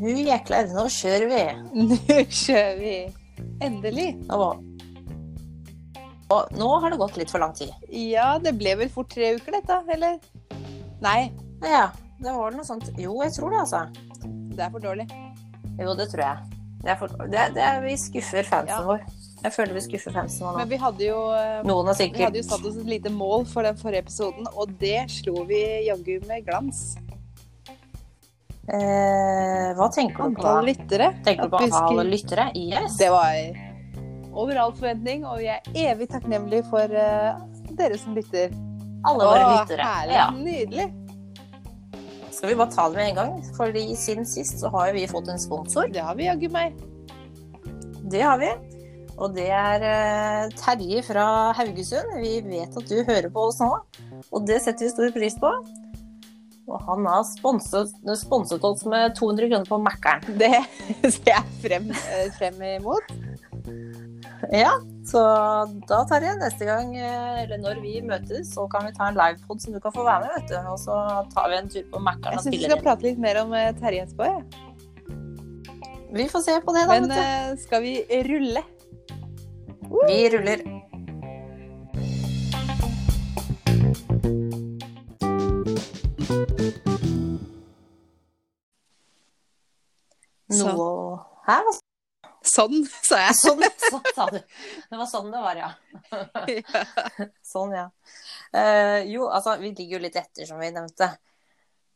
Nu jäklar, nå kjører vi! Nå kjører vi! Endelig. Nå, må... Å, nå har det gått litt for lang tid. Ja, det ble vel fort tre uker, dette, eller? Nei, Ja, det var noe sånt. Jo, jeg tror det, altså. det er for dårlig. Jo, det tror jeg. Det er for... det, det er... Vi skuffer fansen Ja. vår. Jeg føler vi skuffer fansen vår Men nå. vi hadde jo eh, Noen har vi hadde sikkert jo satt oss et lite mål for den forrige episoden, og det slo vi jaggu med glans. eh, Hva tenker du på Antall da? lyttere. Tenker du på at vi antall skulle- lyttere? Yes! Det var over all forventning, og vi er evig takknemlige for eh, dere som lytter. Alle våre Å, lyttere. Herlig. Ja. Nydelig. Skal vi bare ta det med en gang? Fordi siden sist så har jo vi fått en sponsor. Det har vi jaggu meg. Det har vi. Og det er eh, Terje fra Haugesund. Vi vet at du hører på oss nå, og det setter vi stor pris på. Og han har sponset, sponset oss med 200 kroner på Mækkern. Det ser jeg frem, eh, frem imot. Ja, så da, Terje, neste gang, eh, eller når vi møtes, så kan vi ta en livepod som du kan få være med, vet du. Og så tar vi en tur på Mækkern Jeg og syns vi spiller skal inn. prate litt mer om eh, Terje etterpå. jeg. Vi får se på det, da. Men vet eh, skal vi rulle? du. Vi ruller. Sånn. Noe Hæ, hva Sånn, sa jeg. Sånn, sånn sa du. Det var sånn det var, ja. Sånn, ja. Eh, jo, altså, vi ligger jo litt etter, som vi nevnte.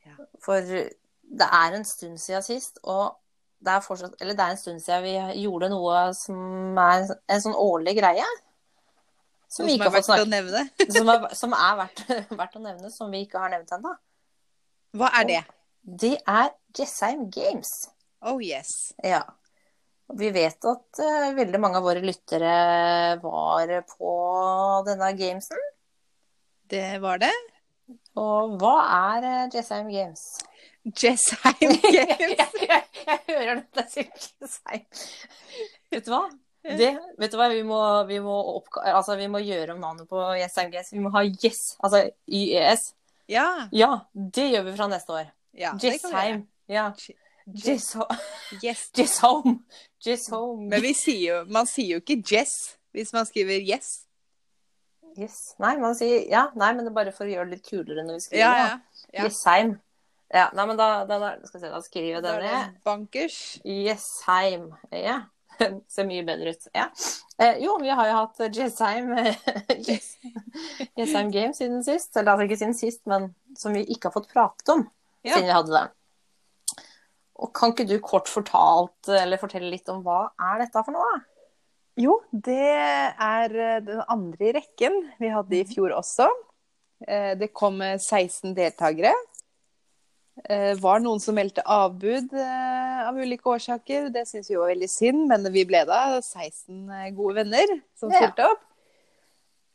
Ja. For det er en stund siden sist, og det er fortsatt Eller det er en stund siden vi gjorde noe som er en sånn årlig greie. Som vi Noe ikke har fått verdt å snakket nevne. Som er, som er verdt, verdt å nevne, som vi ikke har nevnt ennå. Hva er det? Det er Jessheim Games. Oh yes. Ja. Vi vet at eh, veldig mange av våre lyttere var på denne gamesen. Det var det. Og hva er eh, Jessheim Games? Jessheim Games. hører dette sykkelseim. Vet du hva? Det, vet du hva? Vi må, vi, må oppka altså, vi må gjøre om navnet på Jessheim Games. Vi må ha Yes, altså YES. Ja. Ja, det gjør vi fra neste år. ja det kan vi gjøre. Jessheim. Ja. Jess Yes. Jess Home. Jess Home. Men vi sier jo, man sier jo ikke Jess hvis man skriver yes. Yes. Nei, man sier ja, nei, men det er bare for å gjøre det litt kulere når vi skriver. Ja, da. ja. ja. Jessheim. Ja, nei, men da, da, da, skal vi se, da skriver jeg Da den er ned. det bankers. Jessheim. Ja. Ser mye bedre ut. Ja. Eh, jo, vi har jo hatt Jessheim Jess- Jessheim Game siden sist. Eller altså ikke siden sist, men som vi ikke har fått pratet om Ja. siden vi hadde det. Og kan ikke du kort fortalt, eller fortelle litt om hva er dette for noe? da? Jo, det er eh, den andre i rekken vi hadde i fjor også. Eh, Det kom eh, 16 deltakere. Eh, var noen som meldte avbud eh, av ulike årsaker. Det syns vi var veldig synd, men vi ble da 16 gode venner som Ja. stilte opp.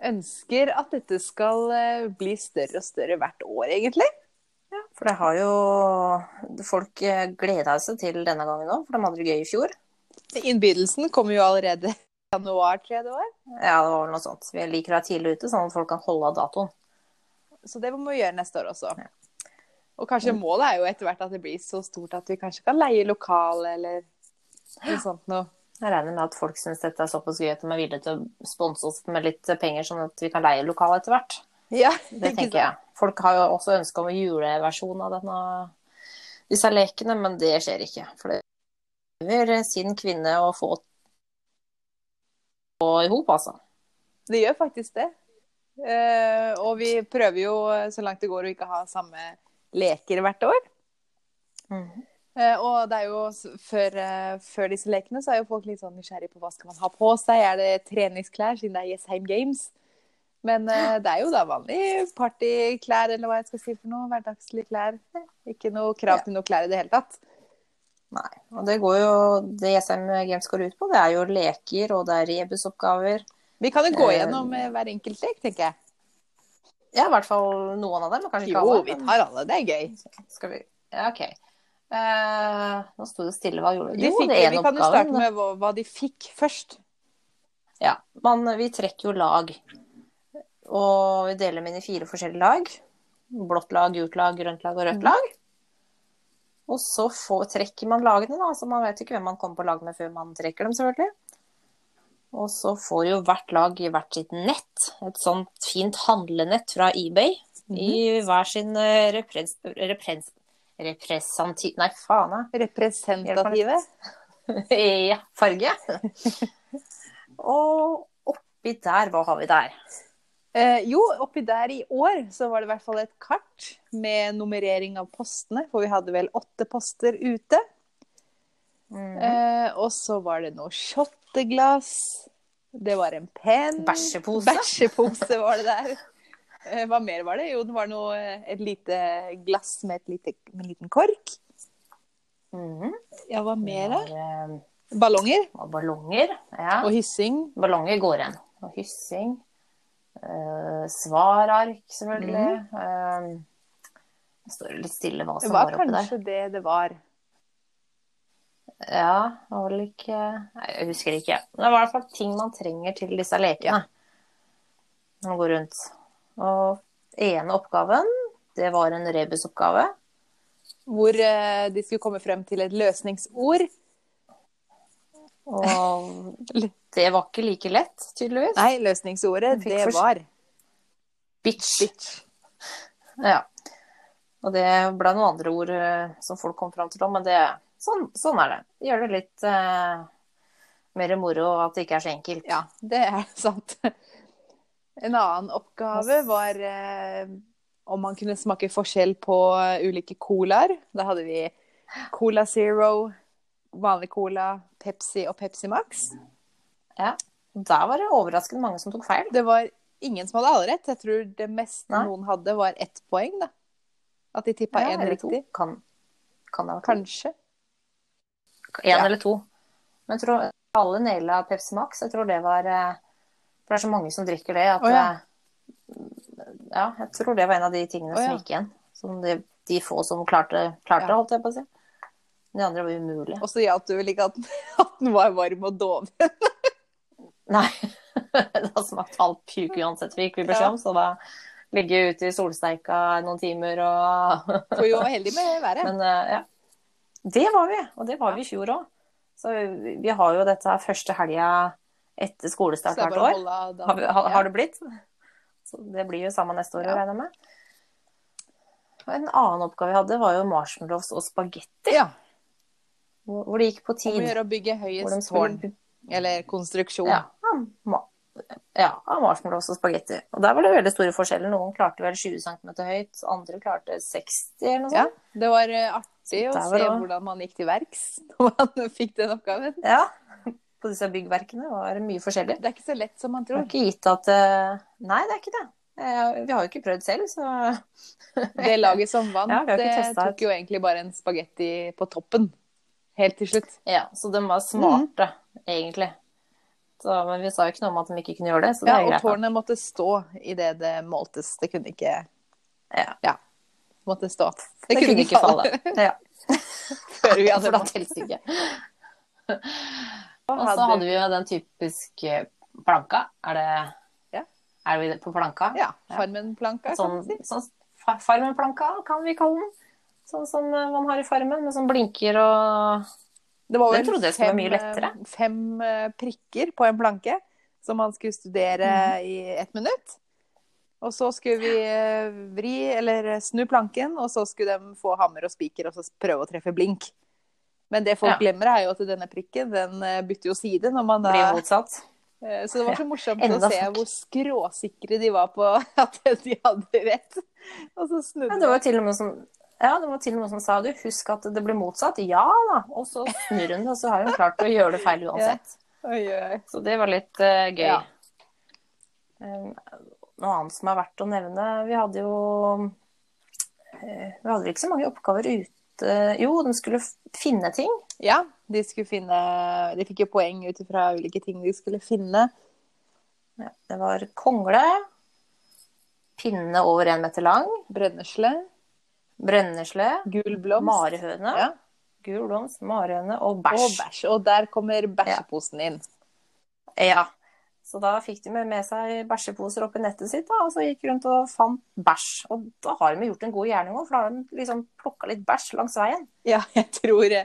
Ønsker at dette skal eh, bli større og større hvert år, egentlig. For det har jo Folk eh, gleda seg til denne gangen òg, for de hadde det gøy i fjor. Innbydelsen kom jo allerede i januar, tror jeg det var. Ja, det var vel noe sånt. Vi liker å være tidlig ute, sånn at folk kan holde av datoen. Så det må vi gjøre neste år også. Og kanskje målet er jo etter hvert at det blir så stort at vi kanskje kan leie lokale eller noe sånt noe. Jeg regner med at folk syns dette er såpass gøy at de er villige til å sponse oss med litt penger, sånn at vi kan leie lokal etter hvert. Ja, Det tenker jeg. Folk har jo også ønske om en juleversjon av denne, disse lekene, men det skjer ikke. For det lever sin kvinne å få i hop, altså. Det gjør faktisk det. Eh, og vi prøver jo eh, så langt det går å ikke ha samme leker hvert år. Eh, og det er jo s- før, eh, før disse lekene så er jo folk litt sånn nysgjerrig på hva skal man ha på seg. Er det treningsklær siden det er Jessheim Games? Men eh, det er jo da vanlig partyklær eller hva jeg skal si for noe. Hverdagslige klær. Ikke noe krav til noe klær i det hele tatt. Nei. Og det går jo Det ESM Games går ut på, det er jo leker, og det er rebusoppgaver. Vi kan jo gå Eh, gjennom eh, hver enkelt lek, tenker jeg. Ja, i hvert fall noen av dem. og Kanskje ikke Jo, alle. vi men- tar alle. Det er gøy. Skal vi Ja, OK. Eh, nå sto det stille. Hva gjorde vi? De Jo, fikk, det er en vi kan jo oppgave. starte med hva, hva de fikk først. Ja, man, vi trekker jo lag. Og vi deler dem inn i fire forskjellige lag. blått lag, gult lag, grønt lag og rødt lag. Og så får, trekker man lagene, da, så man vet ikke hvem man kommer på lag med før man trekker dem, selvfølgelig. Og så får jo hvert lag i hvert sitt nett, et sånt fint handlenett fra eBay, i hver sin eh, reprens... reprens representanti- Nei, faen, jeg. Representative. Ja, farge. Og oppi der, hva har vi der? Eh, jo, oppi der i år så var det i hvert fall et kart med nummerering av postene, for vi hadde vel åtte poster ute. Mm, Eh, og så var det noe shotteglass. Det var en penn. Bæsjepose. Bæsjepose var det der. Eh, Hva mer var det? Jo, det var noe, eh, et lite glass med, et lite, med en liten kork. Mhm. Ja, hva mer? da? Det var, eh, Ballonger Og ballonger. Ja. og hyssing. Ballonger går igjen. Og hyssing. Eh, svarark, selvfølgelig. Mm. Eh, det står jo litt stille hva Det som var var oppi der. kanskje det det var. Ja, det var vel ikke Nei, jeg husker ikke. Men det var i hvert fall ting man trenger til disse lekene. Man går rundt. Og ene oppgaven, det var en rebusoppgave. Hvor eh, de skulle komme frem til et løsningsord. Og det var ikke like lett, tydeligvis. Nei, løsningsordet, Fikk det først- var Bitch. bitch. Ja. Og det ble noen andre ord eh, som folk kom fram til, da, men det, sånn, sånn er det. Det gjør det litt eh, mer moro at det ikke er så enkelt. Ja, det er sant. En annen oppgave var eh, om man kunne smake forskjell på eh, ulike colaer. Da hadde vi Cola Zero, vanlig cola, Pepsi og Pepsi Max. Der var det overraskende mange som tok feil. Det var ingen som hadde alle rett. Jeg tror det meste Nei. noen hadde, var ett poeng. da. At de tippa én eller to. riktig. Kan, kan det være to? Kanskje. En Ja. eller to. Men jeg tror alle naila Pepsi Max. Jeg tror det var eh, For det er så mange som drikker det at Å, ja. eh, ja, jeg tror det var en av de tingene Å, ja. som gikk igjen. Som de, de få som klarte, klarte Ja. holdt jeg på å si. De andre var umulige. Og så hjalp det vel ikke at, at den var varm og doven. Nei. det har smakt halv puke uansett hvilken vi blir Ja. om, så da ligge ute i solsteika noen timer og For vi var heldige med været. Men eh, ja. Det var vi, og det var vi i fjor òg. Så vi, vi har jo dette her første helga etter Så skolestart det er hvert bare å år. holde av da. Har, vi, har, Ja. har det blitt? Så det blir jo samme neste år, Ja. regner jeg med. Og en annen oppgave vi hadde, var jo marshmallows og spagetti. Ja. Hvor hvor det gikk på Om å tid. gjøre å bygge Hvor de høyest tårn. skulle Eller konstruksjon. Ja. ma- Ja, av marshmallows og spagetti. Og der var det veldig store forskjeller. Noen klarte vel 20 cm høyt, andre klarte 60 eller noe Ja, sånt. det var eh, artig Så å der var se det også. hvordan man gikk til verks når man fikk den oppgaven. Ja. På disse byggverkene var det mye forskjellig. Det er ikke så lett som man Det er tror. ikke gitt at eh, Nei, det er ikke det. Eh, Vi har jo ikke prøvd selv, så Det laget som vant, Ja, vi har ikke eh, testet tok jo egentlig bare en spagetti på toppen. Helt til slutt. Ja, så de var smarte, egentlig. Så, men vi sa jo ikke noe om at de ikke kunne gjøre det, så det Ja, er og greit. da. tårnet måtte stå idet det måltes. Det kunne ikke Ja. Måtte stå. Det, Det kunne ikke falle. Ja, før vi hadde for da teller det ikke. Og så hadde vi jo den typiske planka. Er det Ja. Er vi på planka? Ja. Farmen-planka. Sånn, kan man si. sånn fa- Farmen-planka kan vi kalle den. Sånn som eh, man har i Farmen, men som blinker og Det var Den vel trodde jeg skulle fem, være mye lettere. eh, fem eh, prikker på en planke som man skulle studere Mhm. i ett minutt. Og så skulle vi eh, vri eller eh, snu planken, og så skulle de få hammer og spiker og så prøve å treffe blink. Men det folk Ja. glemmer, er jo at denne prikken den eh, bytter jo side når man da blir motsatt. eh, Så det var så morsomt Ja, enda å se folk. hvor skråsikre de var på at de hadde rett. Og så Ja, snudde det var til og med noen som, ja, det var til og med noen som sa du, husk at det blir motsatt. Ja da! Og så snur hun det, og så har hun klart å gjøre det feil uansett. Oi, oi, oi. Så det var litt eh, gøy. Ja. Um, noe annet som er verdt å nevne Vi hadde jo eh, Vi hadde vel ikke så mange oppgaver ute. Jo, de skulle f- finne ting. Ja, de skulle finne De fikk jo poeng ut ifra ulike ting de skulle finne. Ja, det var kongle. Pinne over en meter lang. Brennesle, Brennesle. gul blomst Marehøne. Ja, Gul blomst, marehøne og og bæsj. bæsj. Og der kommer bæsjeposen inn. Ja. Så da fikk de med seg bæsjeposer opp i nettet sitt, da, og så gikk rundt og fant bæsj. Og da har de gjort en god gjerning òg, for da har de liksom plukka litt bæsj langs veien. Ja, jeg tror,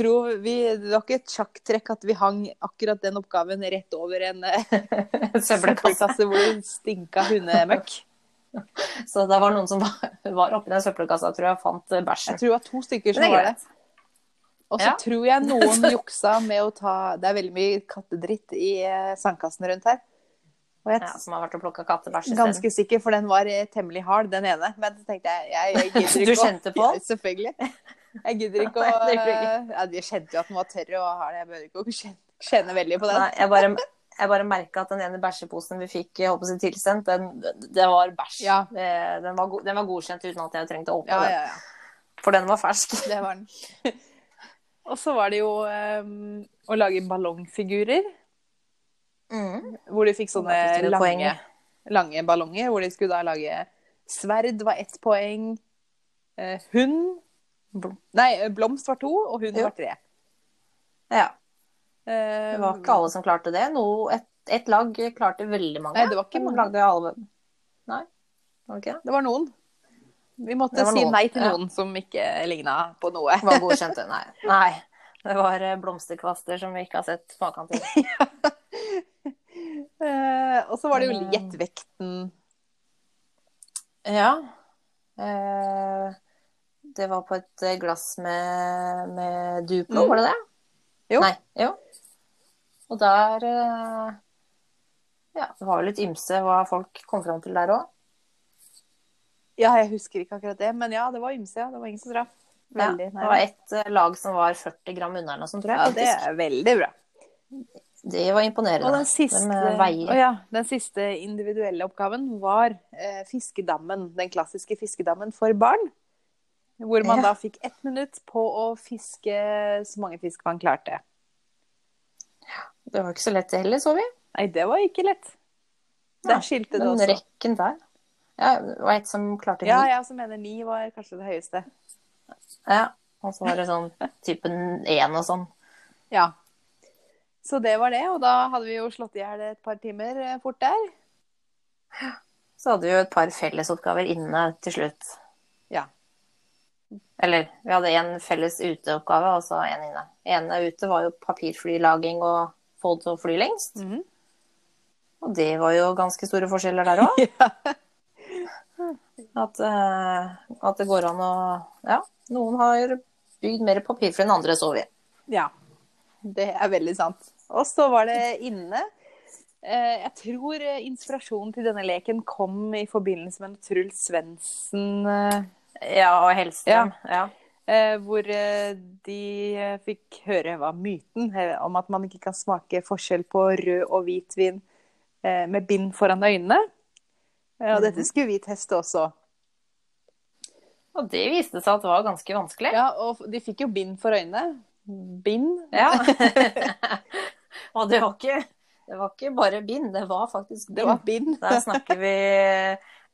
tror vi, Det var ikke et sjakktrekk at vi hang akkurat den oppgaven rett over en eh, Søppelkasse. søppelkasse hvor det stinka hundemøkk. Så det var noen som var, var oppi den søppelkassa, tror jeg, og fant eh, Jeg bæsjen. tror det var to stykker Men som det er var det. greit. Og så Ja. tror jeg noen juksa med å ta Det er veldig mye kattedritt i eh, sandkassen rundt her. Og jeg Ja, som har vært og plukka kattebæsj er isteden. ganske sikker, for den var eh, temmelig hard, den ene. Men så tenkte jeg, jeg, jeg gidder Du ikke å- kjente på den? Ja, selvfølgelig. Jeg gidder ikke å Nei, det gjorde jeg Ja, jeg kjente jo at den var tørr og hard. Jeg bør ikke å kjenne, kjenne veldig på den. Nei, jeg bare, jeg bare merka at den ene bæsjeposen vi fikk jeg håper å si, tilsendt, den, det var bæsj. Ja. Det, den, var go den var godkjent uten at jeg trengte å åpne Ja, den, ja, ja. for den var fersk. Det var den. Og så var det jo eh, å lage ballongfigurer. Mm. Hvor de fikk sånne Da fikk de det lange, poenget. lange ballonger, hvor de skulle da lage sverd var ett poeng, eh, hund Blom- Nei, eh, blomst var to, og hund Jo. var tre. Ja, det Eh, var ikke alle som klarte det. Noe, et, et lag klarte veldig mange. Nei, det var ikke De mange. Lagde alle... Nei, var det ikke det? Det var noen. Vi måtte Det var si noen, nei til ja. noen som ikke ligna på noe. Det var godkjente, nei. nei. Det var eh, blomsterkvaster som vi ikke har sett maken til. Eh, og så var det jo Men, eh, gjett vekten. Ja. Eh, det var på et eh, glass med, med Duplo, Mm. var det det? Jo. Nei, jo. Og der eh, Ja, det var jo litt ymse hva folk kom fram til der òg. Ja, jeg husker ikke akkurat det, men ja, det var ymse. Ja. Det var ingen som traff. Ja, Veldig det var nær. et eh, lag som var 40 gram unna eller noe sånt, tror Ja, jeg. det faktisk. er veldig bra. det var imponerende. Og den siste, De, eh, veier. å ja, den siste individuelle oppgaven var eh, fiskedammen. Den klassiske fiskedammen for barn. Hvor man Ja. da fikk ett minutt på å fiske så mange fisk man klarte. Det var ikke så lett det heller, så vi. Nei, det var ikke lett. Nei, Der skilte det Den også. rekken der. Ja, det var et som klarte Ja, ni. jeg også mener ni var kanskje det høyeste. Ja. Og så var det sånn typen én og sånn. Ja. Så det var det, og da hadde vi jo slått i hjel et par timer eh, fort der. så hadde vi jo et par fellesoppgaver inne til slutt. Ja. Eller vi hadde én felles uteoppgave og så én inne. Ene ute var jo papirflylaging og få det til å fly lengst. Mhm. Og det var jo ganske store forskjeller der òg. Ja. At, eh, at det går an å Ja, noen har bygd mer papirfly enn andre, så vi. Ja, det er veldig sant. Og så var det inne. Eh, Jeg tror eh, inspirasjonen til denne leken kom i forbindelse med en Truls Svendsen eh, Ja, og Hellstrøm. Ja. eh, Hvor eh, de eh, fikk høre hva myten eh, om at man ikke kan smake forskjell på rød og hvit vin eh, med bind foran øynene. Eh, Og dette skulle vi teste også. Og det viste seg at det var ganske vanskelig. Ja, og de fikk jo bind for øynene. Bind? Ja. og det var ikke det var ikke bare bind, det var faktisk bind. Det var bind. Der snakker vi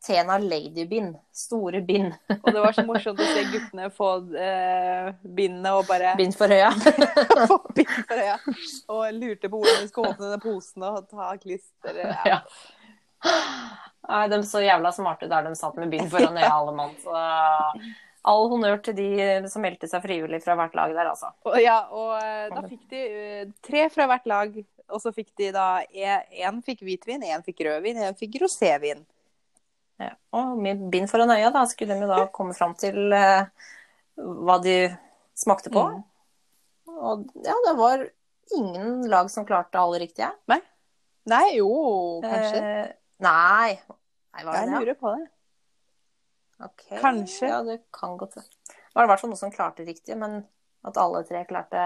Tena Ladybind. Store bind. Og det var så morsomt å se guttene få eh, bindet og bare Bind for øya. få bind for øya. Og lurte på hvordan de skulle åpne den posen og ta klister. eh, Ja. Ja. Nei, de så jævla smarte der de satt med bind foran øya, alle mann. Så all honnør til de som meldte seg frivillig fra hvert lag der, altså. Og, ja, og eh, da fikk de eh, tre fra hvert lag. Og så fikk de da én fikk hvitvin, én fikk rødvin, én fikk rosévin. Ja. Og med bind foran øya, da skulle de jo da komme fram til eh, hva de smakte på. Mm. Og ja, det var ingen lag som klarte alle riktige. Nei, jo, kanskje. Eh, nei. nei, var det Jeg det? ja? lurer på det. Ok, Kanskje. Ja, det kan godt være. Det var i hvert fall noen som klarte riktig, men at alle tre klarte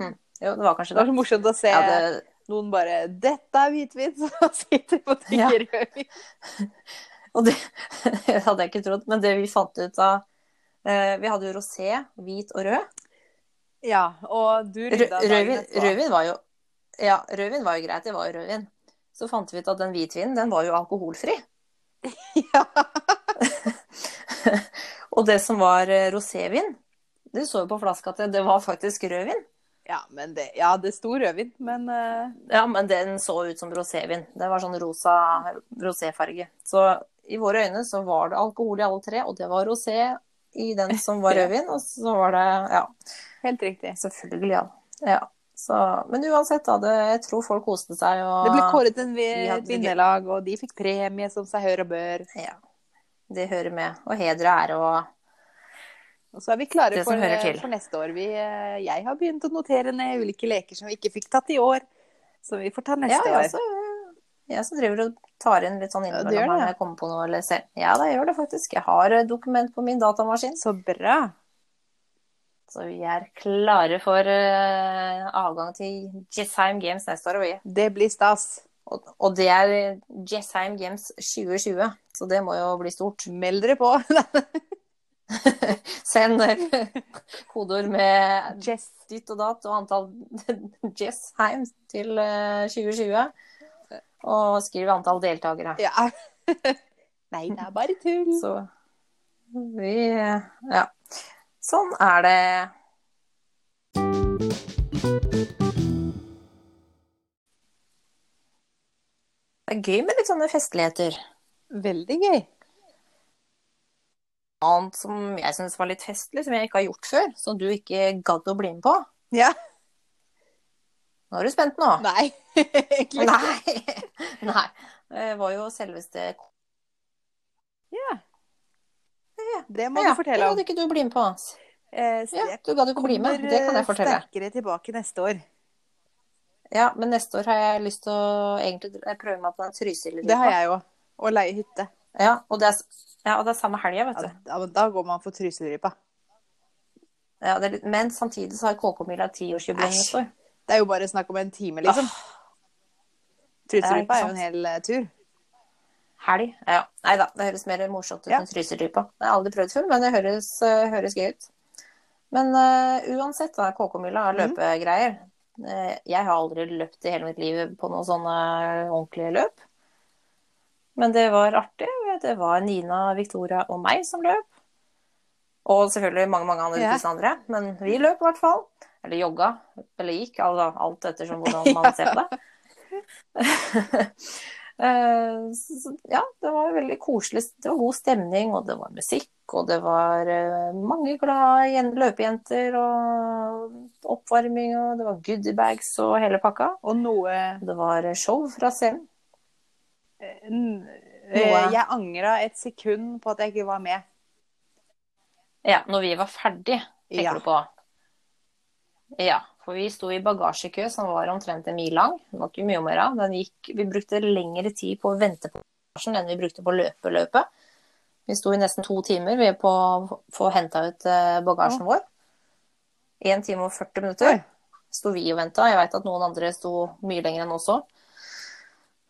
hm. Jo, det var kanskje Det det. var så morsomt å se Ja, det, noen bare 'Dette er hvitvin!' Så sitter de og Ja. drikker rødvin. og det hadde jeg ikke trodd, men det vi fant ut av eh, Vi hadde jo rosé, hvit og rød. Ja, og du Rø- rydda Rødvin, dagen etterpå. rødvin var jo Ja, rødvin var jo greit, det var jo rødvin. Så fant vi ut at den hvitvinen, den var jo alkoholfri. Ja. Og det som var eh, rosévin, det så jo på flaska at det- det var faktisk rødvin. Ja, men det, ja, det sto rødvin, men eh, Ja, men den så ut som rosévin. Det var sånn rosa roséfarge. Så i våre øyne så var det alkohol i alle tre, og det var rosé i den som var rødvin, og så var det Ja, helt riktig. selvfølgelig, ja. ja. Så, men uansett, da. Det, jeg tror folk koste seg. Og, Det ble kåret en vi- Vi hadde det gøy. vinnerlag, og de fikk premie som seg hør og bør. Ja. Det hører med. Og heder og ære og Og så er vi klare Det for, eh, som hører til. for neste år. Vi, eh, jeg har begynt å notere ned ulike leker som vi ikke fikk tatt i år, som vi får ta neste Ja, jeg år. også, jeg også driver og tar inn litt sånn Ja, du innimellom gjør her det, når jeg kommer på noe eller ser. Ja da, jeg gjør det faktisk. Jeg har eh, dokument på min datamaskin. Så bra. Så vi er klare for eh, avgang til Jessheim Games neste år. og vi- Det blir stas. Og, og det er eh, Jessheim Games 2020, så det må jo bli stort. Meld dere på. Send eh, kodeord med Jess. ditt og datt og antall Jessheim til eh, 2020. Og skriv antall deltakere. Ja. Nei, det er bare tull. Så vi eh, Ja. Sånn er det. Det er gøy med litt sånne festligheter. Veldig gøy. Annet som jeg syns var litt festlig, som jeg ikke har gjort før, som du ikke gadd å bli med på. Ja. Nå er du spent nå. Nei, egentlig. Nei. Nei. Det var jo selveste Det må du Det fortelle om. gadd ikke du bli med på. Eh, så Ja, jeg du gadd ikke bli med. kommer, Det kan jeg eh, fortelle. sterkere tilbake neste år. Ja, men neste år har jeg lyst til å egentlig prøve meg på den Trysil-ripa. Det har jeg jo. Å leie hytte. Ja, og det er, ja, og det er samme helga, vet Ja, du. da- da går man for Trysilrypa. Ja, det er litt, men samtidig så har KK-mila tiårsjubileum Æsj. neste år. Det er jo bare snakk om en time, liksom. Åh, Trysilrypa Ja, Ah. er ikke jo en hel eh, tur. helg. Ja. Nei da, det høres mer morsomt ut Ja. enn Trysil-ripa. Jeg har aldri prøvd før, men det høres, eh, høres gøy ut. Men eh, uansett, da, KK-mila har Mhm. løpegreier. Eh, jeg har aldri løpt i hele mitt liv på noen sånne ordentlige løp. Men det var artig. Det var Nina, Victoria og meg som løp. Og selvfølgelig mange mange andre, Ja. tusen andre. Men vi løp i hvert fall. Eller jogga. Eller gikk. Altså, alt ettersom hvordan man ser på det. Eh, så- så, ja, det var veldig koselig. Det var god stemning, og det var musikk. Og det var eh, mange glade jen- løpejenter og oppvarming, og det var goodiebags og hele pakka. Og noe Det var show fra scenen. N- eh, Jeg angra et sekund på at jeg ikke var med. Ja, når vi var ferdig, tenker Ja. du på. Ja, for vi sto i bagasjekø som var omtrent en mil lang. Det var ikke mye om å gjøre. Den gikk, vi brukte lengre tid på å vente på bagasjen enn vi brukte på å løpe løpet. Vi sto i nesten to timer vi på å få henta ut eh, bagasjen vår. 1 time og 40 minutter Oi. sto vi og venta. Jeg veit at noen andre sto mye lenger enn oss òg.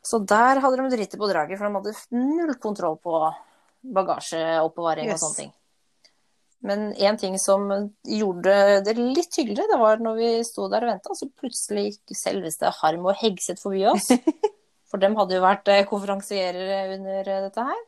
Så der hadde de driti på draget, for de hadde null kontroll på bagasjeoppbevaring Yes. og sånne ting. Men en ting som gjorde det litt hyggeligere, det var når vi sto der og venta, så plutselig gikk selveste Harm og Hegseth forbi oss. For dem hadde jo vært eh, konferansierere under eh, dette her.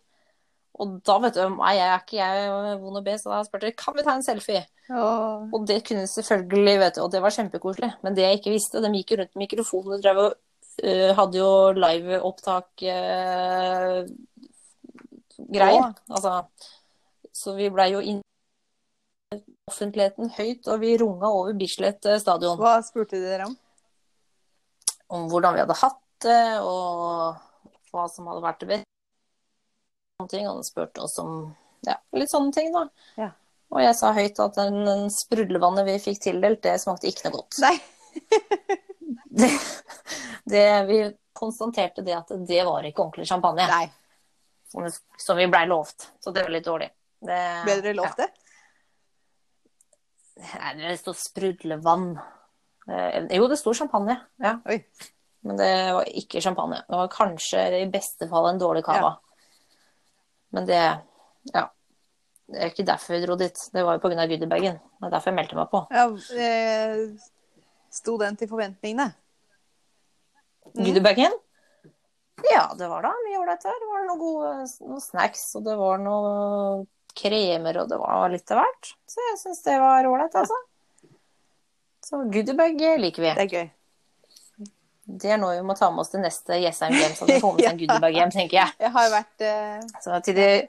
Og da, vet du, nei, jeg er ikke jeg eh, vond å be, så da spurte jeg kan vi ta en selfie. Åh. Og det kunne selvfølgelig, vet du, og det var kjempekoselig. Men det jeg ikke visste, de gikk jo rundt med mikrofonen og drev og eh, hadde jo liveopptak uh, greier. Åh. Altså, så vi blei jo inn offentligheten høyt, og vi runga over Bislett eh, stadion Hva spurte dere om? om hvordan vi hadde hatt det, og hva som hadde vært det beste. Sånne ting, og han spurte oss om ja, litt sånne ting, da. Ja. Og jeg sa høyt at den, den sprudlevannet vi fikk tildelt, det smakte ikke noe godt. Nei. Det, det, vi konstaterte det at det var ikke ordentlig champagne, Nei. som, som vi blei lovt. Så det var litt dårlig. Det, Ble dere lovt det? Nei, det sto sprudlevann. Eh, Jo, det sto champagne. Ja. Oi. Men det var ikke champagne. Det var kanskje i beste fall en dårlig cava. Men det Ja. Det er ikke derfor vi dro dit. Det var jo pga. goodiebagen. Det er derfor jeg meldte meg på. Ja, eh, sto den til forventningene? Mm. Goodiebagen? Ja, det var da mye ålreit der. Det var noen gode noen snacks, og det var noen kremer, og det var litt av hvert. Så jeg syns det var ålreit, altså. Så goodiebag liker vi. Det er gøy. Det er noe vi må ta med oss til neste Jessheim hjem, så vi får med oss en Ja. goodiebag hjem, tenker jeg. Jeg har vært eh, Så til de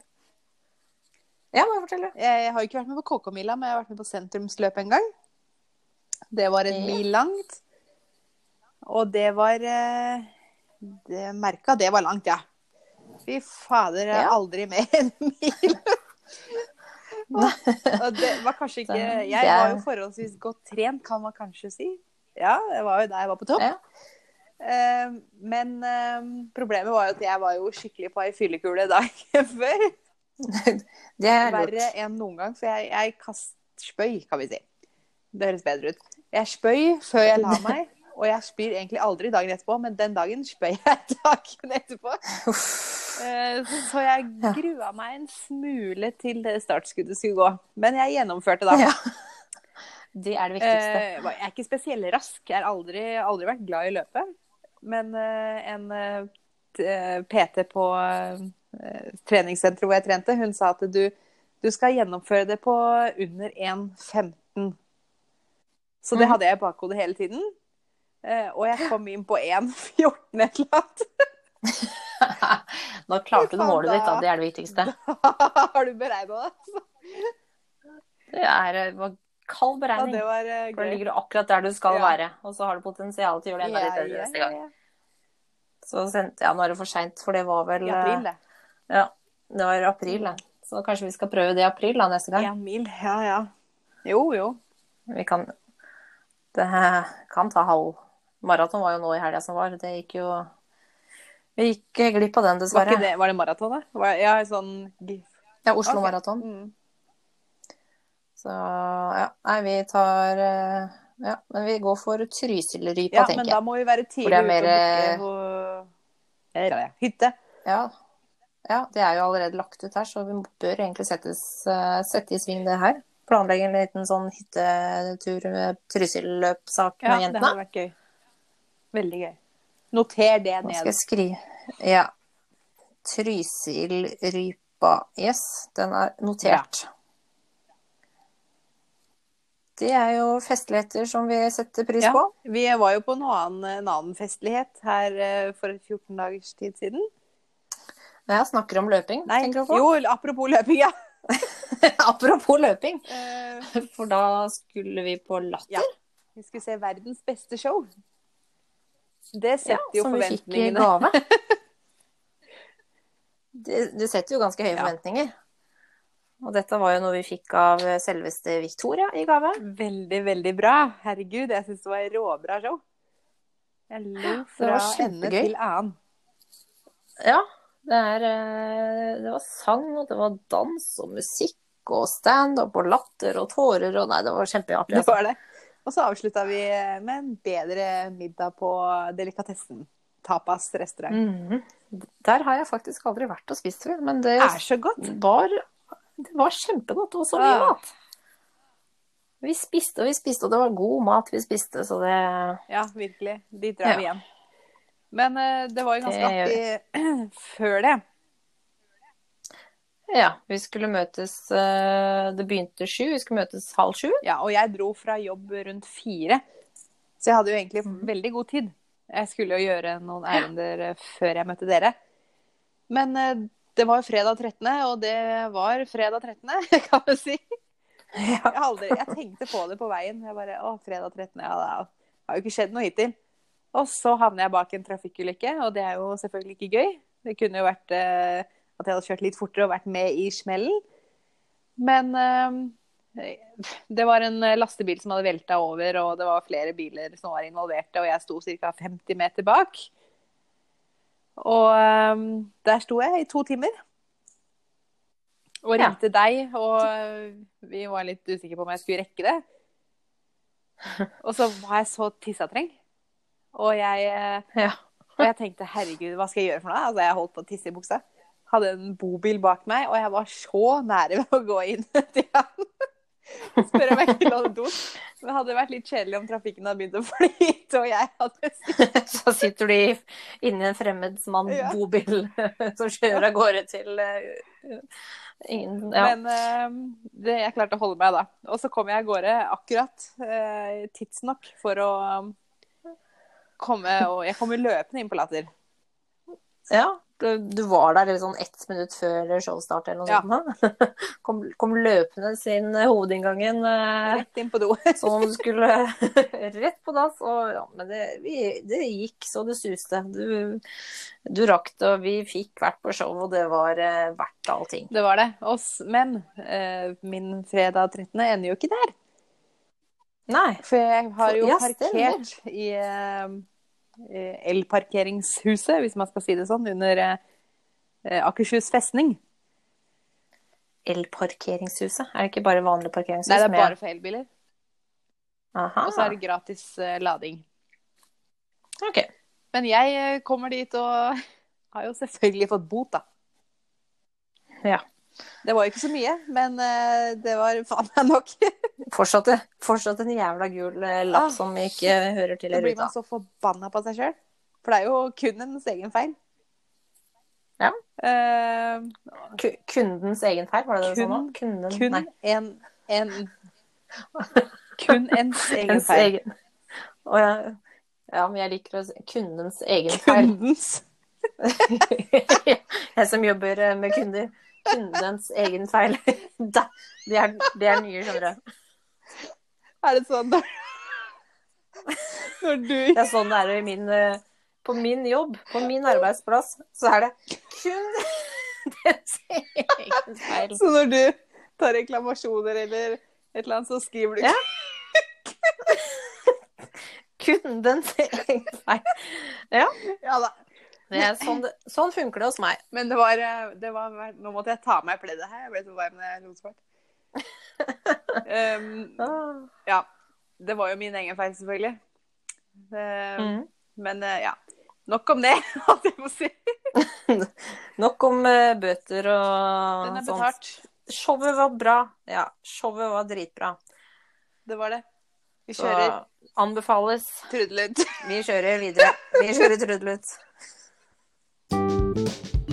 Ja, må jeg fortelle? Jeg har jo ikke vært med på KK-mila, men jeg har vært med på sentrumsløpet en gang. Det var en Ja. mil langt. Og det var eh, det Merka det var langt, ja. Fy fader, jeg har Ja. aldri mer enn en mil. og og det var kanskje ikke Sånn. Det- Jeg var jo forholdsvis godt trent, kan man kanskje si. Ja, jeg var jo der jeg var på topp. Ja. Eh, men eh, problemet var jo at jeg var jo skikkelig på ei fyllekule dagen før. Det er lurt. Verre enn noen gang, for jeg, jeg kast, spøy, kan vi si. Det høres bedre ut. Jeg spøy før jeg la meg, og jeg spyr egentlig aldri dagen etterpå, men den dagen spøy jeg dagen etterpå. Eh, Så jeg Ja. grua meg en smule til det startskuddet skulle gå. Men jeg gjennomførte da. Ja, Det er det viktigste. Eh, Jeg er ikke spesielt rask. Jeg har aldri, aldri vært glad i å løpe. Men eh, en eh, t- eh, PT på eh, treningssenteret hvor jeg trente, hun sa at du, du skal gjennomføre det på under 1,15. Så det Mhm. hadde jeg i bakhodet hele tiden. Eh, Og jeg kom inn på 1,14 et eller annet. Da klarte du Fy faen, målet ditt, da. da. Det er det viktigste. Har du beregna det? Det er eh, var kald Ja, beregning. det var eh, For da gøy. ligger du akkurat der du skal Ja. være, og så har du potensial til å gjøre det enda litt Ja, bedre ja, neste gang. ja, ja. Så sendte jeg Nå er det for seint, for det var vel I april, det. eh, Ja, det var april, det. Så kanskje vi skal prøve det i april da, neste gang. Én mil. Ja, ja. Jo, jo. Vi kan Det kan ta halv Maraton var jo nå i helga som var. Det gikk jo Vi gikk eh, glipp av den, Var, dessverre. ikke det, var det maraton, da? Var, ja, sånn Ja, Oslo Ok. Maraton. mm. Så ja. Nei, vi tar eh, Ja, men vi går for Trysil-rypa, Ja, men tenker da jeg. må vi være tidlig For det er ute mer, eh, og booke på ja, ja, hytte. Ja. ja. Det er jo allerede lagt ut her, så vi bør egentlig settes, eh, sette i sving det her. Planlegge en liten sånn hyttetur, eh, Trysil-løpsak Ja, med det jentene. hadde vært gøy. Veldig gøy. Noter det Nå skal ned. jeg skrive Ja. Trysilrypa. Yes, den er notert. Det er jo festligheter som vi setter pris Ja. på. Vi var jo på en annen, en annen festlighet her eh, for 14 dagers tid siden. Når jeg snakker om løping, Nei, tenker du på? jo, apropos løping, ja. Apropos løping, Eh, for da skulle vi på Latter. ja. Vi skulle se verdens beste show. Det Ja, setter jo som vi fikk i gave. forventningene. Det, det setter jo ganske høye Ja. forventninger. Og dette var jo noe vi fikk av selveste Victoria i gave. Veldig, veldig bra. Herregud, jeg syns det var råbra show. Jeg lo fra var ende kjempegøy. til annen. Ja, det, er, eh, det var sang, og det var dans og musikk og standup og latter og tårer og Nei, det var kjempeartig. Det Altså. var det. Og så avslutta vi med en bedre middag på delikatessen. Tapas restaurant. Mhm. Der har jeg faktisk aldri vært og spist før, men det Det er så godt. var, det var kjempegodt. Og så mye Ja. mat. Vi spiste og vi spiste, og det var god mat vi spiste, så det Ja, virkelig. Dit drar vi Ja. igjen. Men eh, det var jo ganske Det artig før det. Ja, vi skulle møtes eh, Det begynte sju, vi skulle møtes halv sju. Ja, og jeg dro fra jobb rundt fire, så jeg hadde jo egentlig veldig god tid. Jeg skulle jo gjøre noen ærender eh, før jeg møtte dere. Men eh, det var jo fredag 13., og det var fredag 13., kan du si. Ja. Jeg, har aldri, jeg tenkte på det på veien. Jeg bare, å, fredag 13., ja, det har jo ikke skjedd noe hittil. Og så havner jeg bak en trafikkulykke, og det er jo selvfølgelig ikke gøy. Det kunne jo vært eh, at jeg hadde kjørt litt fortere og vært med i smellen. Men eh, det var en lastebil som hadde velta over, og det var flere biler som var involverte, og jeg sto ca. 50 meter bak. Og eh, der sto jeg i to timer. Og Ja. ringte deg, og vi var litt usikre på om jeg skulle rekke det. Og så var jeg så tissetreng. Og jeg, eh, Ja. og jeg tenkte herregud, hva skal jeg gjøre for noe? Altså, jeg holdt på å tisse i buksa. Hadde en bobil bak meg, og jeg var så nære ved å gå inn til han. Spør om jeg ikke lå do. Det hadde vært litt kjedelig om trafikken hadde begynt å flyte, og jeg hadde Så sitter du i- inni en fremmedsmann Ja. bobil som kjører av gårde til eh, ingen ja. Men eh, det, jeg klarte å holde meg, da. Og så kom jeg av gårde akkurat eh, tidsnok for å eh, komme og Jeg kom jo løpende inn på Latter. ja. Du, du var der litt sånn ett minutt før showstart eller noe Ja. sånt. da. Kom, kom løpende inn hovedinngangen eh, Rett inn på do. som om du skulle rett på dass. Og, ja, men det, vi, det gikk så det suste. Du, du rakk det, og vi fikk vært på show, og det var eh, verdt allting. Det var det. Og s- men eh, min fredag 13. ender jo ikke der. Nei. For jeg har jo Ja, parkert i eh, eh, elparkeringshuset, hvis man skal si det sånn, under eh, eh, Akershus festning. Elparkeringshuset? Er det ikke bare vanlig parkeringshus? Nei, det er med- bare for elbiler. Aha. Og så er det gratis eh, lading. Ok. Men jeg eh, kommer dit og har jo selvfølgelig fått bot, da. Ja. Det var jo ikke så mye, men eh, det var faen meg nok. Fortsatt, fortsatt en jævla gul eh, lapp Ah. som ikke hører til i Da blir ruta. man så forbanna på seg sjøl. For det er jo kun ens egen feil. Ja. Eh, Ku- Kundens egen feil, var det det Kun- sånn? Kunden, kun nei, en, en Kun ens egen ens feil. egen. Å, ja. ja, men jeg liker å si kundens egen feil. Kundens. jeg som jobber eh, med kunder. Kundens egen feil. Da, det, er, det er nye, skjønner du. Er det sånn når, når du Det er sånn det er i min, eh, på min jobb, på min arbeidsplass, så er det kundens egen feil. Så når du tar reklamasjoner eller et eller annet, så skriver du Ja. Kundens egen feil. Ja da. Det er sånn, det, sånn funker det hos meg. Men det var, eh, det var Nå måtte jeg ta av meg pleddet her. Jeg ble så varm når jeg lo så fælt. Um, Ah. ja. Det var jo min egen feil, selvfølgelig. Eh, Mm. Men eh, ja. Nok om det, holdt jeg på å si. Nok om eh, bøter og Den er sånt. betalt. Showet var bra. Ja, showet var dritbra. Det var det. Vi Så kjører anbefales. trudelutt. Vi kjører videre. Vi kjører trudelutt.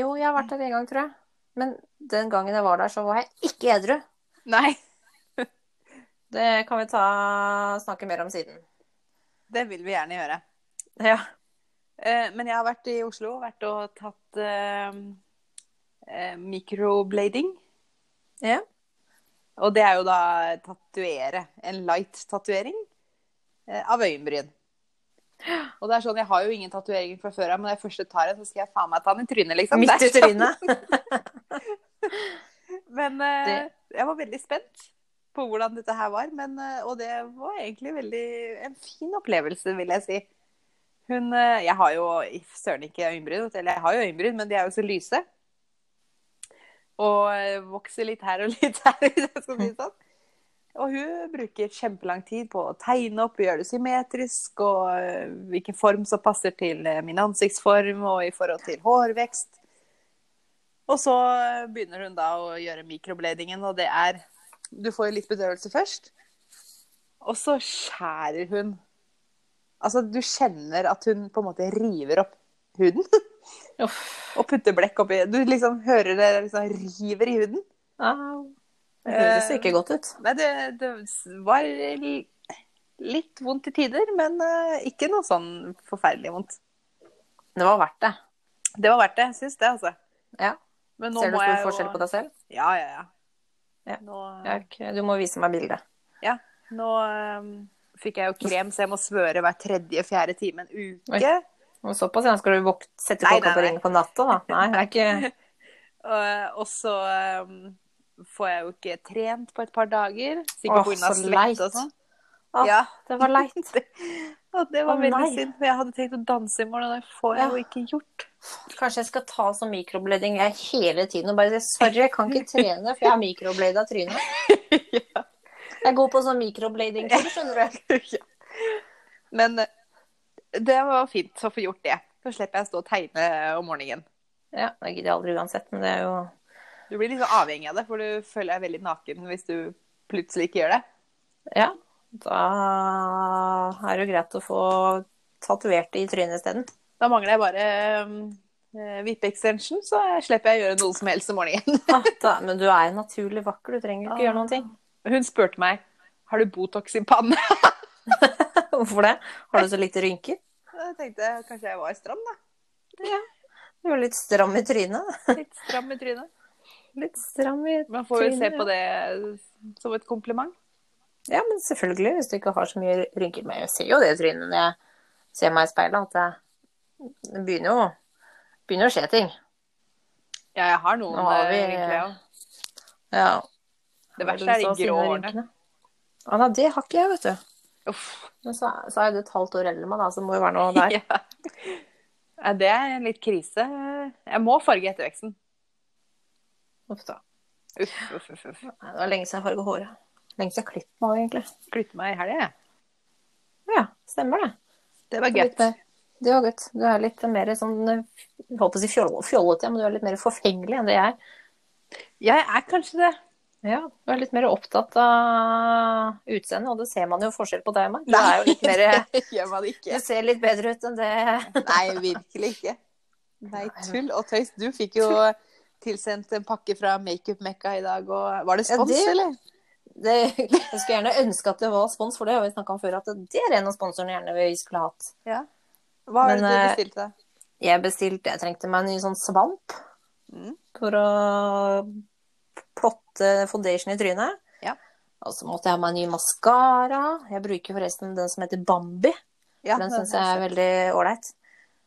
Jo, jeg har vært der en gang, tror jeg. Men den gangen jeg var der, så var jeg ikke edru. Nei, Det kan vi ta... snakke mer om siden. det vil vi gjerne gjøre. Ja. Eh, Men jeg har vært i Oslo vært og tatt eh, eh, microblading. Ja. Og det er jo da tatuere. En light-tatuering eh, av øyenbryn. Og det er sånn, Jeg har jo ingen tatoveringer fra før av, men når jeg først tar en, så skal jeg faen meg ta den i trynet. liksom. Midt i Det er sånn. trynet. Men eh, Det- jeg var veldig spent på hvordan dette her var. Men, eh, og det var egentlig veldig en fin opplevelse, vil jeg si. Hun, eh, jeg har jo i søren ikke øyenbryn, vet du, eller jeg har jo øyenbryn, men de er jo så lyse. Og eh, vokser litt her og litt her, hvis jeg skal si det sånn. Og hun bruker kjempelang tid på å tegne opp og gjøre det symmetrisk, og eh, hvilken form som passer til eh, min ansiktsform og i forhold til hårvekst. Og så eh, begynner hun da å gjøre mikrobladingen, og det er Du får jo litt bedøvelse først. Og så skjærer hun Altså, du kjenner at hun på en måte river opp huden Uff. og putter blekk oppi Du liksom hører det liksom river i huden. Au. Eh, Det høres jo ikke godt ut. Nei, det, det var li- litt vondt i tider, men eh, ikke noe sånn forferdelig vondt. Det var verdt det. Det var verdt det. Jeg syns det, altså. Ja. Men nå Ser du må stor jeg jo- forskjell på deg selv? Ja, ja, ja. Ja. Nå, Jeg har ikke- Du må vise meg bildet. Ja, nå ehm, fikk jeg jo krem, så jeg må svøre hver tredje-fjerde time en uke. Og Såpass, ja. Skal du våk- sette Nei, klokka nei, på nei. ringen på natta, da? Nei, det er ikke Og, og så eh, ehm, får jeg jo ikke trent på et par dager. Åh, Sikkert pga. så svette leit. og sånn. Å, Ja. Det var leit. Og det var Å, veldig nei. synd, for jeg hadde tenkt å danse i morgen, og det får jeg Ja. jo ikke gjort. Kanskje jeg skal ta sånn mikroblading jeg hele tiden og bare si sorry, jeg kan ikke trene, for jeg har mikroblada trynet. Ja. Jeg går på sånn mikroblading-kurs, skjønner du. Ja. Men eh, det var fint å få gjort det. Så slipper jeg å stå og tegne om morgenen. Ja, det gidder jeg aldri uansett, men det er jo Du blir liksom avhengig av det, for du føler deg veldig naken hvis du plutselig ikke gjør det. Ja. Da er det jo greit å få tatovert det i trynet isteden. Da mangler jeg bare eh, vippe-extension, så slipper jeg å gjøre noe som helst om morgenen. Ah, da- Men du er jo naturlig vakker, du trenger ikke Ah. gjøre noen ting. Hun spurte meg har du Botox i panna. Hvorfor det? Har du så lite rynker? Jeg tenkte kanskje jeg var stram, da. Du er litt stram i trynet. Litt stram i trynet. Litt stram i Man får jo se Trynet, på det som et kompliment. Ja, men selvfølgelig, hvis du ikke har så mye rynker. Men jeg ser jo det i trynet når jeg ser meg i speilet, at det- det begynner jo begynner å skje ting. Ja, jeg har noen Nå har vi- eh, rynker, jeg også. Ja. Det verste er de Så grå finne årene. rynkene. Ja, nei, det har ikke jeg, vet du. Uff. Men så, er- så er det et halvt år eldre enn meg, da, så det må jo være noe der. Ja. Ja, det er en litt krise. Jeg må farge etter veksten. Uff da. Uff, uff, uff. uff. Nei, Det var lenge siden jeg farget håret. Lenge siden jeg klippet meg, egentlig. Klippe meg i helga, jeg. Ja, stemmer det. Det var Litt gøtt. mer- Det var godt. Du er litt mer sånn eh, Jeg holdt på å si fjoll- fjollete, ja, men du er litt mer forfengelig enn det jeg er. Jeg er kanskje det. Ja, du er litt mer opptatt av utseendet, og det ser man jo forskjell på deg og meg. Du, Nei. er jo litt mer, Det gjør man du ikke. ser litt bedre ut enn det Nei, virkelig ikke. Nei, tull og tøys. Du fikk jo tilsendt en pakke fra Makeup-Mekka i dag, og var det Ja, spons, det- eller? det, Jeg skulle gjerne ønske at det var spons for det, og vi snakka om før at det er en av sponsorene gjerne vi skulle hatt. Ja. Hva var Men, det du eh, bestilte? Jeg bestilte Jeg trengte meg en ny sånn svamp Mm. for å plotte foundation i trynet. Ja. Og så måtte jeg ha meg en ny maskara. Jeg bruker forresten den som heter Bambi. Ja, Den syns jeg er veldig ålreit.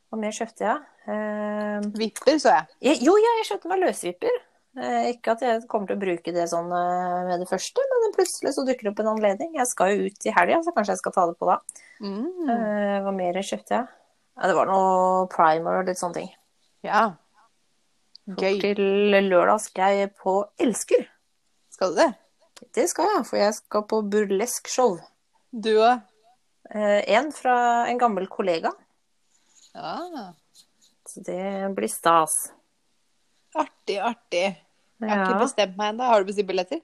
Hva mer kjøpte jeg? Eh, Vipper, så jeg. Jeg, jo, ja, jeg kjøpte meg løsvipper. Eh, ikke at jeg kommer til å bruke det sånn eh, med det første, men plutselig så dukker det opp en anledning. Jeg skal jo ut i helga, så kanskje jeg skal ta det på da. Mm. Eh, hva mer kjøpte jeg? Ja, det var noe primer og litt sånne ting. Ja. Gøy. Gøy. Til lørdag skal jeg på Elsker. Skal du det? Det skal jeg, for jeg skal på burlesk show. Du òg? Eh, en fra en gammel kollega. Ja. Så det blir stas. Artig, artig. Jeg har ikke bestemt meg ennå. Har du bestilt billetter?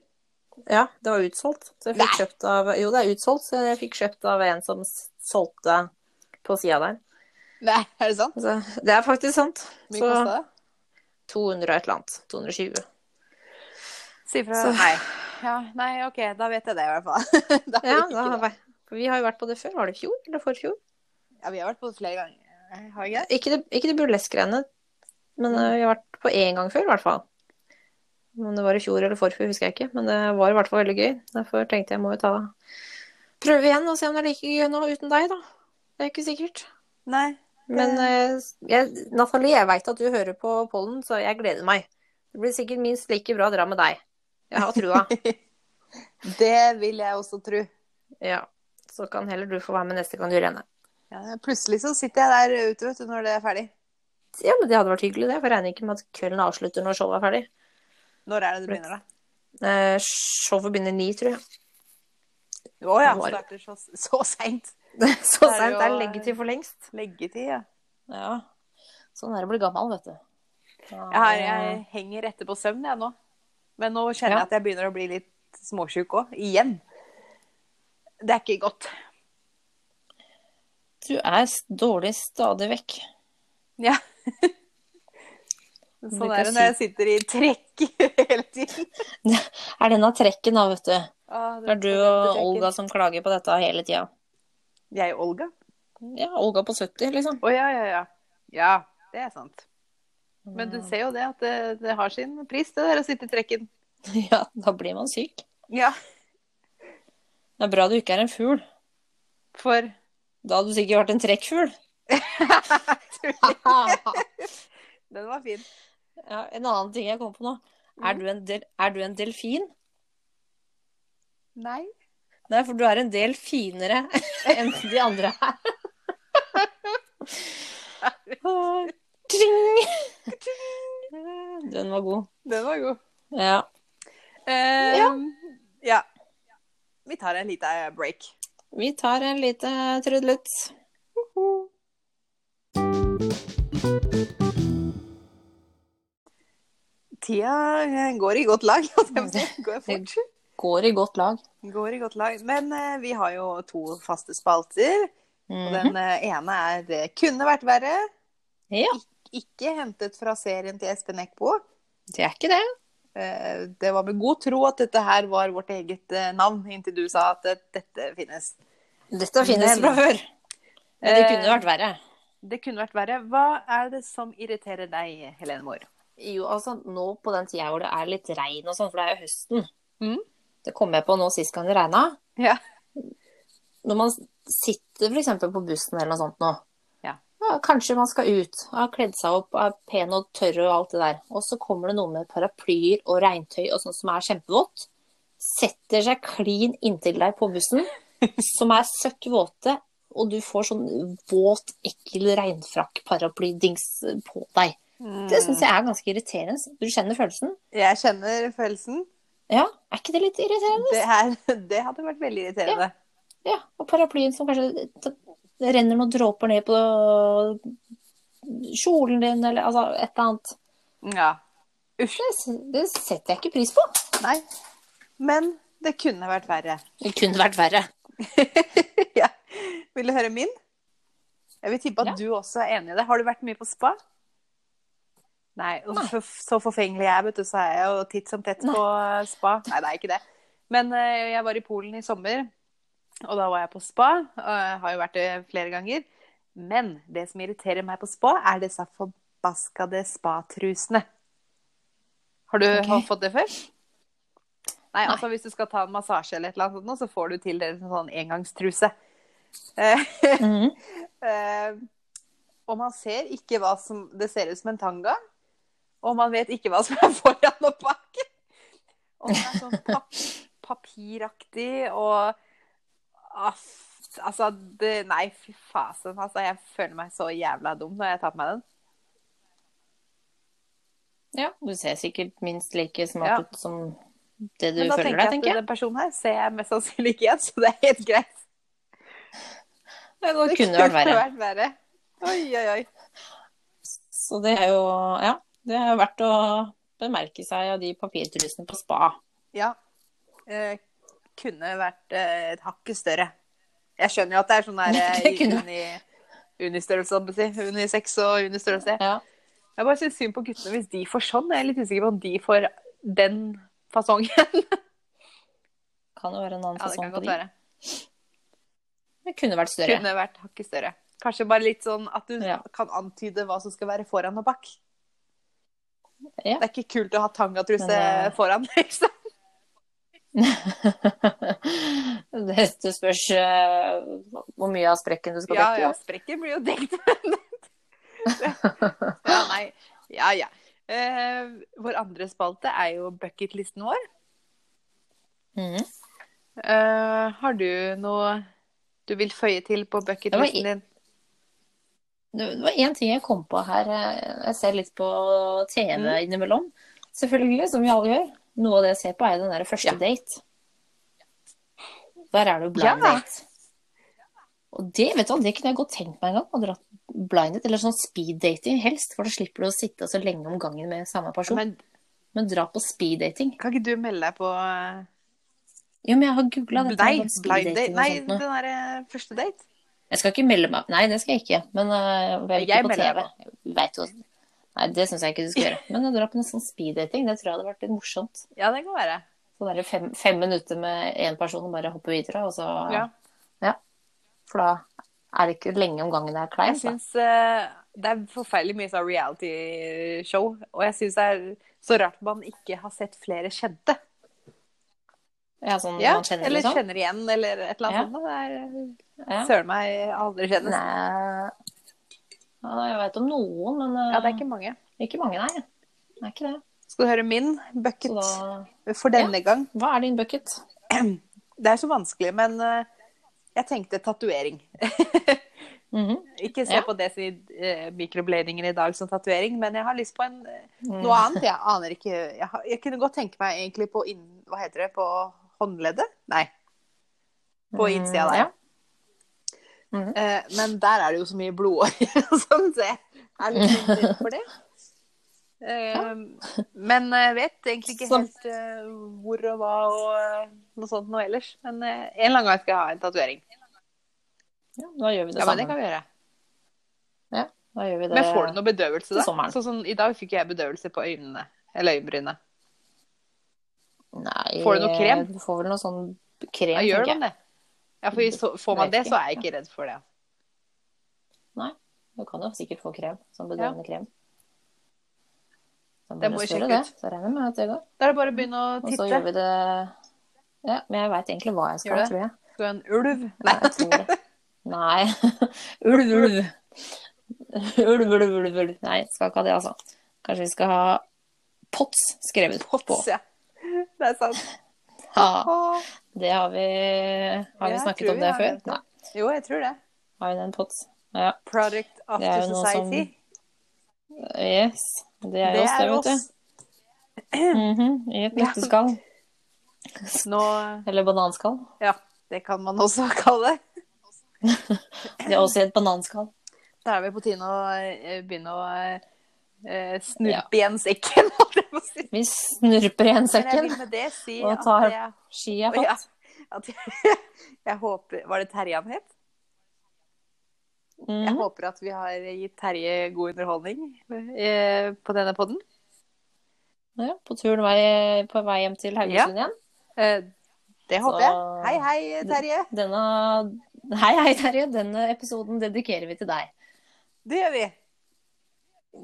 Ja, det var utsolgt. Så jeg fikk kjøpt av, jo, det er utsolgt, så jeg fikk kjøpt av en som s- solgte på sida der. Nei, er det sant? Så, det er faktisk sant. Hvor mye Så kosta det? 200 og et eller annet. 220. Si fra. så- Nei. Ja, nei, OK, da vet jeg det i hvert fall. Da Ja, da, gikk det. har vi- for vi har jo vært på det før. Var det i fjor eller forfjor? ja, vi har vært på det flere ganger. Har vi ikke det? Ikke det, ikke det burlesque-greiene, men eh, vi har vært på én gang før, i hvert fall. Om det var i fjor eller forfjor, husker jeg ikke, men det var i hvert fall veldig gøy. Derfor tenkte jeg må jo ta prøve igjen og se om det er like gøy nå uten deg, da. Det er ikke sikkert. Nei. Men eh, jeg, Nathalie, jeg veit at du hører på pollen, så jeg gleder meg. Det blir sikkert minst like bra å dra med deg. Jeg har trua. Det vil jeg også tro. Ja. Så kan heller du få være med neste gang du renner. Ja, plutselig så sitter jeg der ute, vet du, når det er ferdig. Ja, men det hadde vært hyggelig, det. For jeg regner ikke med at kvelden avslutter når showet er ferdig. Når er det du begynner, da? Eh, showet begynner ni, tror jeg. Å ja, Når? starter så, så seint. Så Det er seint jo- er leggetid for lengst. Leggetid, ja. Ja. Sånn er det å bli gammel, vet du. Jeg, har, jeg henger etter på søvn, jeg nå. Men nå kjenner Ja. jeg at jeg begynner å bli litt småsjuk òg. Igjen. Det er ikke godt. Du er s- dårlig stadig vekk. Ja. Du Sånn kan er det si- når jeg sitter i trekk hele tiden. Er den av trekken, da, vet du. Ah, Det er du og Olga som klager på dette hele tida. Jeg og Olga? Ja, Olga på 70, liksom. Å ja, ja, ja. Ja, det er sant. Men du ser jo det at det, det har sin pris, det der å sitte i trekken. Ja, da blir man syk. Ja, Det er bra du ikke er en fugl. for Da hadde du sikkert vært en trekkfugl. Tulling. Den var fin. ja, en annen ting jeg kom på nå. Er du en, del, er du en delfin? Nei. Nei, for du er en del finere enn de andre her. Tring! Den var god. Den var god. Ja. Eh, ja. Vi tar en liten eh, break. Vi tar en lite trudelutt. Tida eh, går i godt lag. holdt jeg på å si. Går fort. Går i godt lag. Går i godt lag. Men eh, vi har jo to faste spalter. Mm. Og den eh, ene er Det kunne vært verre. Ja. Ikke hentet fra serien til Espen Eckbo. Det er ikke det. Eh, Det var med god tro at dette her var vårt eget eh, navn, inntil du sa at eh, dette finnes. Dette finnes Men- fra før. Men det Eh, kunne vært verre. Det kunne vært verre. Hva er det som irriterer deg, Helene Moor? Jo, altså nå på den tida hvor det er litt regn og sånn, for det er jo høsten. Mhm. Det kom jeg på nå sist gang det regna. Ja. Når man sitter f.eks. på bussen eller noe sånt nå. Ja. kanskje man skal ut, har kledd seg opp, er pen og tørr og alt det der. Og så kommer det noe med paraplyer og regntøy og sånt som er kjempevått. Setter seg klin inntil deg på bussen, som er søkk våte, og du får sånn våt, ekkel regnfrakk-paraplydings på deg. Det syns jeg er ganske irriterende. Du kjenner følelsen? Jeg kjenner følelsen. Ja, er ikke det litt irriterende? Det, her, det hadde vært veldig irriterende. Ja, Og paraplyen som kanskje det renner noen dråper ned på kjolen din, eller altså et eller annet. Ja. Det, det setter jeg ikke pris på. Nei. Men det kunne vært verre. Det kunne vært verre. ja. Vil du høre min? Jeg vil tippe at Ja. du også er enig i det. Har du vært mye på spa? Nei, og Nei. for, så forfengelig jeg er, vet du, så er jeg jo titt som tett på eh, spa. Nei, det er ikke det. Men eh, jeg var i Polen i sommer, og da var jeg på spa. Og jeg har jo vært det flere ganger. Men det som irriterer meg på spa, er disse forbaskede spatrusene. Har du Ok. har fått det før? Nei, Nei. altså hvis du skal ta en massasje eller et eller annet sånt, nå, så får du tildelt en sånn engangstruse. Eh, Mhm. eh, og man ser ikke hva som Det ser ut som en tanga, og man vet ikke hva som er foran og bak. Og den er sånn pap papiraktig og aff, Altså, det Nei, fy fasen. Altså, jeg føler meg så jævla dum når jeg tar på meg den. Ja, du ser sikkert minst like smart Ja. ut som det du Men da føler tenker jeg deg, at tenker jeg. den personen her ser jeg mest sannsynlig ikke igjen, så det er helt greit. Ja, det, kunne vært verre. vært verre. Oi, oi, oi. Så det er jo Ja, det er verdt å bemerke seg av de papirtrusene på spa. Ja. Eh, kunne vært eh, et hakket større. Jeg skjønner jo at det er sånn der eh, Det kunne- uni, unistørrelse, holdt jeg på å si. Unisex og unistørrelse. Ja. Jeg bare syns synd på guttene hvis de får sånn. Jeg er litt usikker på om de får den fasongen. Kan jo være en annen Ja, det fasong kan på godt de. være. Det kunne vært større. Kunne vært hakket større. Kanskje bare litt sånn at du Ja. kan antyde hva som skal være foran og bak. Ja. Det er ikke kult å ha tangatruse Men, eh, foran, liksom. det, det spørs eh, hvor mye av sprekken du skal Ja, dekke. ja, sprekken blir jo dekt. ja, nei. Ja, ja. Eh, vår andre spalte er jo bucketlisten vår. Mhm. Eh, har du noe du vil føye til på bucketlisten din? Det det var én ting jeg kom på her. eh, Jeg ser litt på TV Mm. innimellom. Selvfølgelig, som vi alle gjør. Noe av det jeg ser på, er jo den der første Ja. date. Der er det jo blind Ja. date. Og det vet du, hva, det kunne jeg godt tenkt meg en gang. Å dra blind date, eller sånn speed dating helst. For da slipper du å sitte så lenge om gangen med samme person. Men, Men dra på speed dating. kan ikke du melde deg på eh, Jo, men jeg har googla dette. Nei, med sånn speed blind date. dating og Nei, sånt noe. den derre første date. Jeg skal ikke melde meg Nei, det skal jeg ikke. Men øh, jeg er Jeg ikke på melder meg TV. Jeg vet jo Nei, det syns jeg ikke du skal gjøre. Men å dra på en sånn speeddating, det tror jeg hadde vært litt morsomt. Ja, det kan være. Sånn derre fem, fem minutter med én person og bare hoppe videre, og så Ja. For da er det ikke lenge om gangen det er Jeg kleint. da. syns eh, det er forferdelig mye sånn reality-show, og jeg syns det er så rart man ikke har sett flere kjente. Ja, sånn Ja, man kjenner eller liksom. kjenner igjen, eller et eller annet sånt. da. Det Ja. er søren meg aldri kjennes. Nei ja, Jeg veit om noen, men øh, Ja, det er ikke mange. ikke mange, nei. Det er ikke det. Skal du høre min Så bucket da for denne gang? Hva er din bucket? Det er så vanskelig, men eh, jeg tenkte tatovering. Mhm. Ikke se Ja. på det sin eh, mikrobladingen i dag som tatovering, men jeg har lyst på en, eh, Mm. noe annet. Jeg aner ikke jeg, har, jeg kunne godt tenke meg egentlig på inn, Hva heter det? På håndleddet? Nei. På Mm, innsida der. ja. Mhm. Eh, men der er det jo så mye blodårer og sånn, så jeg er litt redd for det. Eh, men jeg vet egentlig ikke Som- helt eh, hvor og hva og eh, noe sånt noe ellers. Men eh, en eller annen gang skal jeg ha en tatovering. Ja, da gjør vi det Ja, men sammen. det kan vi gjøre. Da gjør vi det. Men får du noe bedøvelse da? til sommeren. Sånn som I dag fikk jeg bedøvelse på øynene. Eller øyenbrynene. Nei, Får du noe krem? Du får vel noe sånn krem, Ja, tenker gjør jeg. man det? Ja, for i så, får man Vet det, ikke. så er jeg ikke redd for det. Du kan jo sikkert få krem, sånn bedøvende krem. Da Det må du må vi spørre sjekke det, ut. så regner jeg med at det går. Da er det bare å begynne å Og så titte. gjør vi det Ja, men jeg veit egentlig hva jeg skal, Gjør det? tror jeg. Du er en ulv. Nei, jeg tror det. Nei. ulv, ulv. Ulv, ulv, ulv, ulv. Nei, skal ikke ha det, altså. Kanskje vi skal ha POTS skrevet på. Pots, ja. Det er sant. Ja, Åh. det har vi Har vi Jeg snakket tror om vi det har før? nevnt det. Nei. Jo, jeg tror det. Har vi den POTS? Ja. Product Det er After jo noe som- Society. Yes. Det er jo oss, det, vet du. Mhm, I et Ja. nøtteskall. Nå, Eller bananskall. ja, det kan man også kalle det. Det er også i et bananskall. Da er vi på tide å eh, begynne å eh, snurpe igjen sekken, holdt jeg på å si. Vi snurper igjen Men jeg sekken. vil med det si Og at tar- jeg, Ski er Ja. fatt. at jeg, jeg håper Var det Terje han het? Jeg Mhm. håper at vi har gitt Terje god underholdning eh, på denne podden. Ja, på turen vei, på vei hjem til Haugesund igjen. Eh, det håper jeg. Så- Hei, hei, Terje. Denne, hei, hei, Terje. Denne episoden dedikerer vi til deg. Det gjør vi.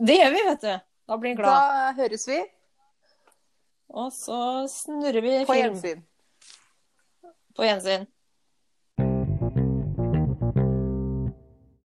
Det gjør vi, vet du. Da blir han Da glad. høres vi Og så snurrer vi på film gjensyn. på gjensyn.